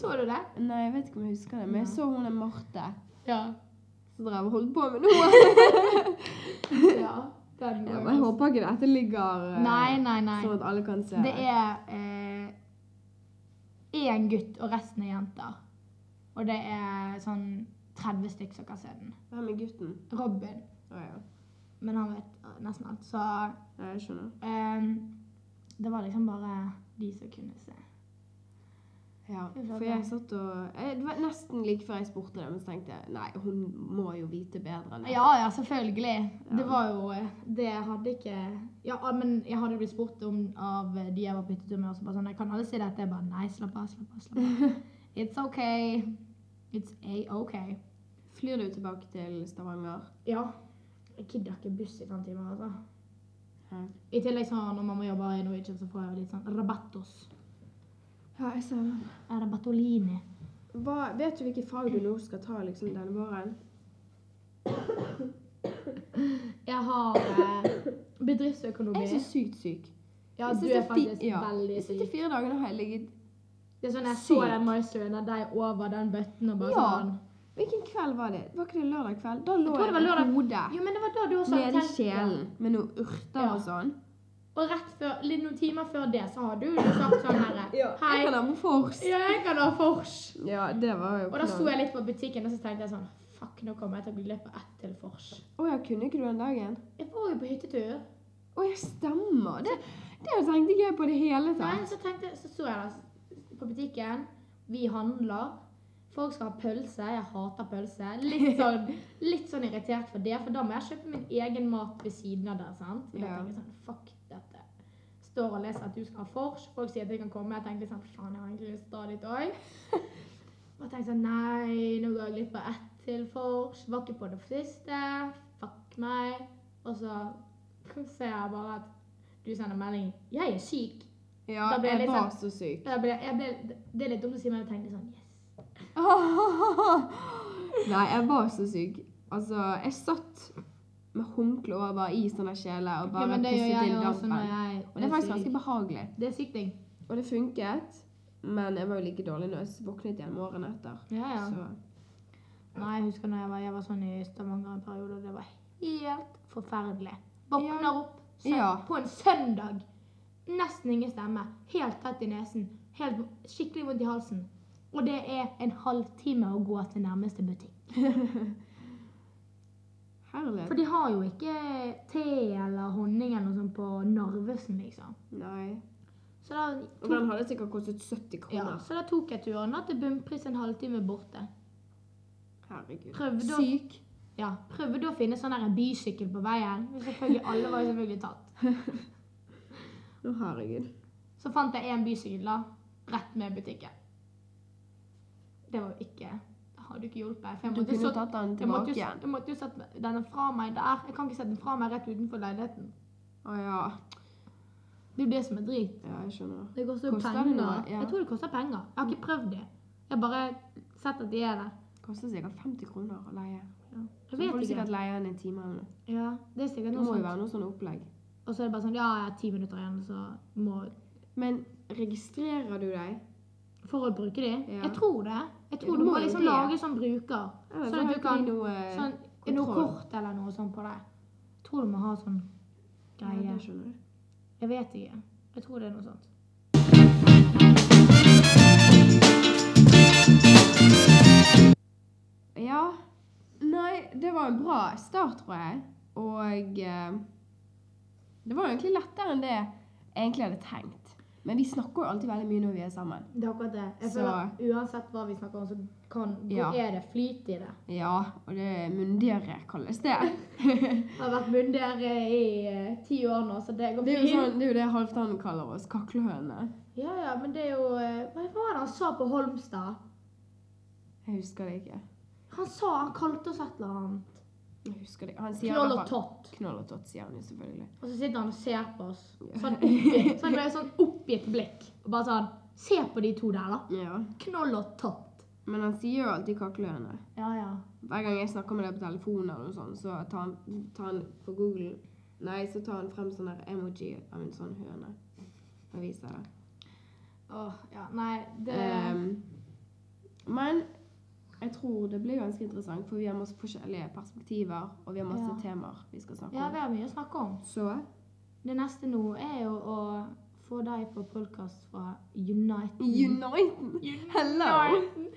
Speaker 2: Så du det?
Speaker 1: Nei, jeg vet ikke om jeg husker det, men jeg
Speaker 2: Nei.
Speaker 1: så hun er Marte.
Speaker 2: Ja.
Speaker 1: Som drev og holdt på med noe.
Speaker 2: ja den
Speaker 1: Ja,
Speaker 2: var
Speaker 1: men jeg håper ikke dette ligger eh,
Speaker 2: Nei, nei, nei.
Speaker 1: sånn at alle kan se
Speaker 2: Det er eh, én gutt, og resten er jenter. Og det er sånn 30 stykk som kan se den.
Speaker 1: Hvem er gutten?
Speaker 2: Robin.
Speaker 1: Å ja.
Speaker 2: Men han vet eh, nesten alt, så
Speaker 1: Nei, jeg skjønner.
Speaker 2: eh, Det var liksom bare de som kunne se.
Speaker 1: Ja,
Speaker 2: Jeg skjønner.
Speaker 1: for jeg satt og jeg, Det var nesten like før jeg spurte det, men så tenkte jeg nei, hun må jo vite bedre enn det.
Speaker 2: Ja, ja, selvfølgelig. Det var jo eh, Det jeg hadde ikke Ja, ah, men jeg hadde blitt spurt om av eh, de jeg var på hyttetur med, og så bare sånn Jeg kan alle si dette. Jeg bare Nei, slapp av, slapp av. slapp av. It's okay. It's a-ok.
Speaker 1: Flyr du tilbake til Stavanger?
Speaker 2: Ja. Jeg gidder ikke buss i fem timer, altså.
Speaker 1: Hæ?
Speaker 2: I tillegg så når mamma jobber i Norwegian, så får jeg jo litt sånn rabattos. Eh,
Speaker 1: Ja, jeg ser det.
Speaker 2: Rabattolini.
Speaker 1: Hva, vet du hvilke fag du nå skal ta liksom, denne våren?
Speaker 2: Jeg har eh, bedriftsøkonomi.
Speaker 1: Jeg er så sykt syk.
Speaker 2: Ja,
Speaker 1: jeg
Speaker 2: du
Speaker 1: synes
Speaker 2: er
Speaker 1: det er fi-
Speaker 2: faktisk
Speaker 1: ja.
Speaker 2: veldig
Speaker 1: De
Speaker 2: syk.
Speaker 1: siste fire dagene har jeg ligget
Speaker 2: Det er sånn jeg så
Speaker 1: Syk.
Speaker 2: den maisteren av deg over den bøtten og bare
Speaker 1: Ja.
Speaker 2: sånn
Speaker 1: Hvilken kveld var det? Var ikke det lørdag kveld? Da lå
Speaker 2: tror det var
Speaker 1: jeg
Speaker 2: lørdag.
Speaker 1: med hodet
Speaker 2: Jo, men det var da du også hadde
Speaker 1: nede i
Speaker 2: tenkt-
Speaker 1: sjelen med noen urter
Speaker 2: Ja.
Speaker 1: og sånn.
Speaker 2: Og rett før, litt noen timer før det så har du jo sagt sånn herre
Speaker 1: Jeg kan
Speaker 2: Hei,
Speaker 1: ha med fors.
Speaker 2: ja, jeg kan ha fors.
Speaker 1: Ja, det var jo
Speaker 2: Og da sto jeg litt på butikken og så tenkte jeg sånn Fuck, nå kommer jeg til å bli løpt på ett til fors.
Speaker 1: Å ja, kunne ikke du den dagen?
Speaker 2: Jeg var jo på hyttetur.
Speaker 1: Å ja, stemmer. Det, det tenkte ikke jeg på i det hele
Speaker 2: Nei,
Speaker 1: tatt.
Speaker 2: så tenkte så så jeg det på butikken. Vi handler. Folk skal ha pølse. Jeg hater pølse. Litt sånn, litt sånn irritert for det, for da må jeg kjøpe min egen mat ved siden av der. sant? Og da
Speaker 1: Ja.
Speaker 2: tenker jeg sånn, fuck dette. Står og leser at du skal ha fors. Folk sier at jeg kan komme. Jeg tenker sånn, faen, jeg har egentlig lyst til å dra dit òg. Og jeg tenkte sånn, nei, nå går jeg litt på ett til fors. Var ikke på det siste. Fuck meg. Og så ser jeg bare at du sender melding. Jeg er syk.
Speaker 1: Ja,
Speaker 2: Da ble jeg
Speaker 1: jeg
Speaker 2: litt
Speaker 1: var
Speaker 2: sånn-
Speaker 1: så syk.
Speaker 2: Jeg ble, jeg ble, det er litt dumt å si, men jeg tenkte sånn Yes.
Speaker 1: Nei, jeg var så syk. Altså, jeg satt med håndkle over i sånne kjeler og
Speaker 2: Ja,
Speaker 1: bare
Speaker 2: men det gjør
Speaker 1: pustet
Speaker 2: jeg
Speaker 1: inn
Speaker 2: også
Speaker 1: dampen.
Speaker 2: når jeg
Speaker 1: Og det er faktisk ganske behagelig.
Speaker 2: Det er sykt digg.
Speaker 1: Og det funket, men jeg var jo like dårlig når jeg våknet igjen morgenen etter.
Speaker 2: Ja, ja.
Speaker 1: Så
Speaker 2: Nei, jeg husker når jeg var, jeg var sånn i Stavanger en periode, og det var helt forferdelig. Våkner
Speaker 1: Ja.
Speaker 2: opp søn,
Speaker 1: Ja.
Speaker 2: på en søndag. Nesten ingen stemme. Helt tett i nesen. Helt, skikkelig vondt i halsen. Og det er en halvtime å gå til nærmeste butikk. For
Speaker 1: herlig.
Speaker 2: de har jo ikke te eller honning eller noe sånt på Narvesen, liksom.
Speaker 1: Nei.
Speaker 2: Så da
Speaker 1: Og
Speaker 2: tok,
Speaker 1: den hadde sikkert kostet 70
Speaker 2: ja,
Speaker 1: kroner.
Speaker 2: så da tok jeg turen da til bunnpris en halvtime borte.
Speaker 1: Herregud.
Speaker 2: Prøvde å
Speaker 1: Syk.
Speaker 2: Ja, prøvde å finne sånn der bysykkel på veien. Men selvfølgelig, alle var jo selvfølgelig tatt.
Speaker 1: Å, herregud.
Speaker 2: Så fant jeg en bysykkel da, rett med butikken. Det var jo ikke Det hadde jo ikke hjulpet. For jeg
Speaker 1: Du
Speaker 2: måtte,
Speaker 1: kunne
Speaker 2: jo så,
Speaker 1: tatt den
Speaker 2: jeg, måtte
Speaker 1: tilbake
Speaker 2: jo,
Speaker 1: igjen.
Speaker 2: jeg måtte jo sette denne fra meg der. Jeg kan ikke sette den fra meg rett utenfor leiligheten.
Speaker 1: Å ja.
Speaker 2: Det er jo det som er drit.
Speaker 1: Ja, jeg skjønner.
Speaker 2: Det koster jo
Speaker 1: Koster det
Speaker 2: penger.
Speaker 1: noe? Ja.
Speaker 2: Jeg tror det koster penger. Jeg har ikke prøvd det. Jeg har bare sett at de er der.
Speaker 1: Koster sikkert 50 kroner å leie. Så
Speaker 2: Jeg
Speaker 1: får du
Speaker 2: vet ikke.
Speaker 1: sikkert leie den i en time eller noe.
Speaker 2: Ja, det er
Speaker 1: Det
Speaker 2: sikkert
Speaker 1: må
Speaker 2: noe
Speaker 1: jo
Speaker 2: sånt.
Speaker 1: være noe sånn opplegg.
Speaker 2: Og så er det bare sånn Ja, jeg har ti minutter igjen, så må
Speaker 1: Men registrerer du deg?
Speaker 2: For å bruke de?
Speaker 1: Ja.
Speaker 2: Jeg tror det. Jeg
Speaker 1: Du
Speaker 2: tror du,
Speaker 1: må
Speaker 2: må
Speaker 1: jo
Speaker 2: liksom
Speaker 1: det.
Speaker 2: lage sånn bruker.
Speaker 1: Eller så
Speaker 2: Sånn at
Speaker 1: har
Speaker 2: du
Speaker 1: ikke
Speaker 2: kan
Speaker 1: de noe
Speaker 2: sånn, Noe
Speaker 1: kontroll.
Speaker 2: kort eller noe sånt på det. Jeg tror du må ha sånn
Speaker 1: Nei,
Speaker 2: greie.
Speaker 1: det skjønner jeg.
Speaker 2: Jeg vet ikke. Jeg tror det er noe sånt.
Speaker 1: Ja. Nei, det var en bra start, tror jeg. Og eh, det var jo egentlig lettere enn det jeg egentlig hadde tenkt. Men vi snakker jo alltid veldig mye når vi er sammen.
Speaker 2: Det er akkurat det. Jeg
Speaker 1: Så-
Speaker 2: føler Uansett hva vi snakker om, så kan, hvor
Speaker 1: Ja.
Speaker 2: er det flyt i det.
Speaker 1: Ja, og det er mundere, kalles det.
Speaker 2: Jeg har vært munndere i eh, ti år nå, så det går
Speaker 1: Det er jo,
Speaker 2: fint.
Speaker 1: sånn, det, er jo det Halvdan kaller oss, kaklehøne.
Speaker 2: Ja, ja, men det er jo eh, Hva var det han sa på Holmstad?
Speaker 1: Jeg husker det ikke.
Speaker 2: Han sa han kalte oss et eller annet.
Speaker 1: Jeg husker det. Han sier i
Speaker 2: Knoll og
Speaker 1: hvert fall-
Speaker 2: tott.
Speaker 1: Knoll og tott, sier han jo selvfølgelig.
Speaker 2: Og så sitter han og ser på oss.
Speaker 1: Ja.
Speaker 2: Sånn oppgitt, sånn med et sånn oppgitt blikk. Og bare sånn Se på de to der, da.
Speaker 1: Ja.
Speaker 2: Knoll og tott.
Speaker 1: Men han sier jo alltid kaklehøne.
Speaker 2: Ja, ja.
Speaker 1: Hver gang jeg snakker med deg på telefonen, eller noe sånt, så tar han, tar han på Google Nei, så tar han frem sånn der emoji av en sånn høne og viser det.
Speaker 2: Åh, ja. Nei, det
Speaker 1: Ehm, men jeg tror det blir ganske interessant, for vi har masse forskjellige perspektiver, og vi har masse
Speaker 2: Ja.
Speaker 1: temaer vi skal snakke
Speaker 2: Ja,
Speaker 1: om.
Speaker 2: vi har mye å snakke om.
Speaker 1: Så
Speaker 2: Det neste nå er jo å få deg på podkast fra Uniten.
Speaker 1: Uniten! Hello!
Speaker 2: Uniten.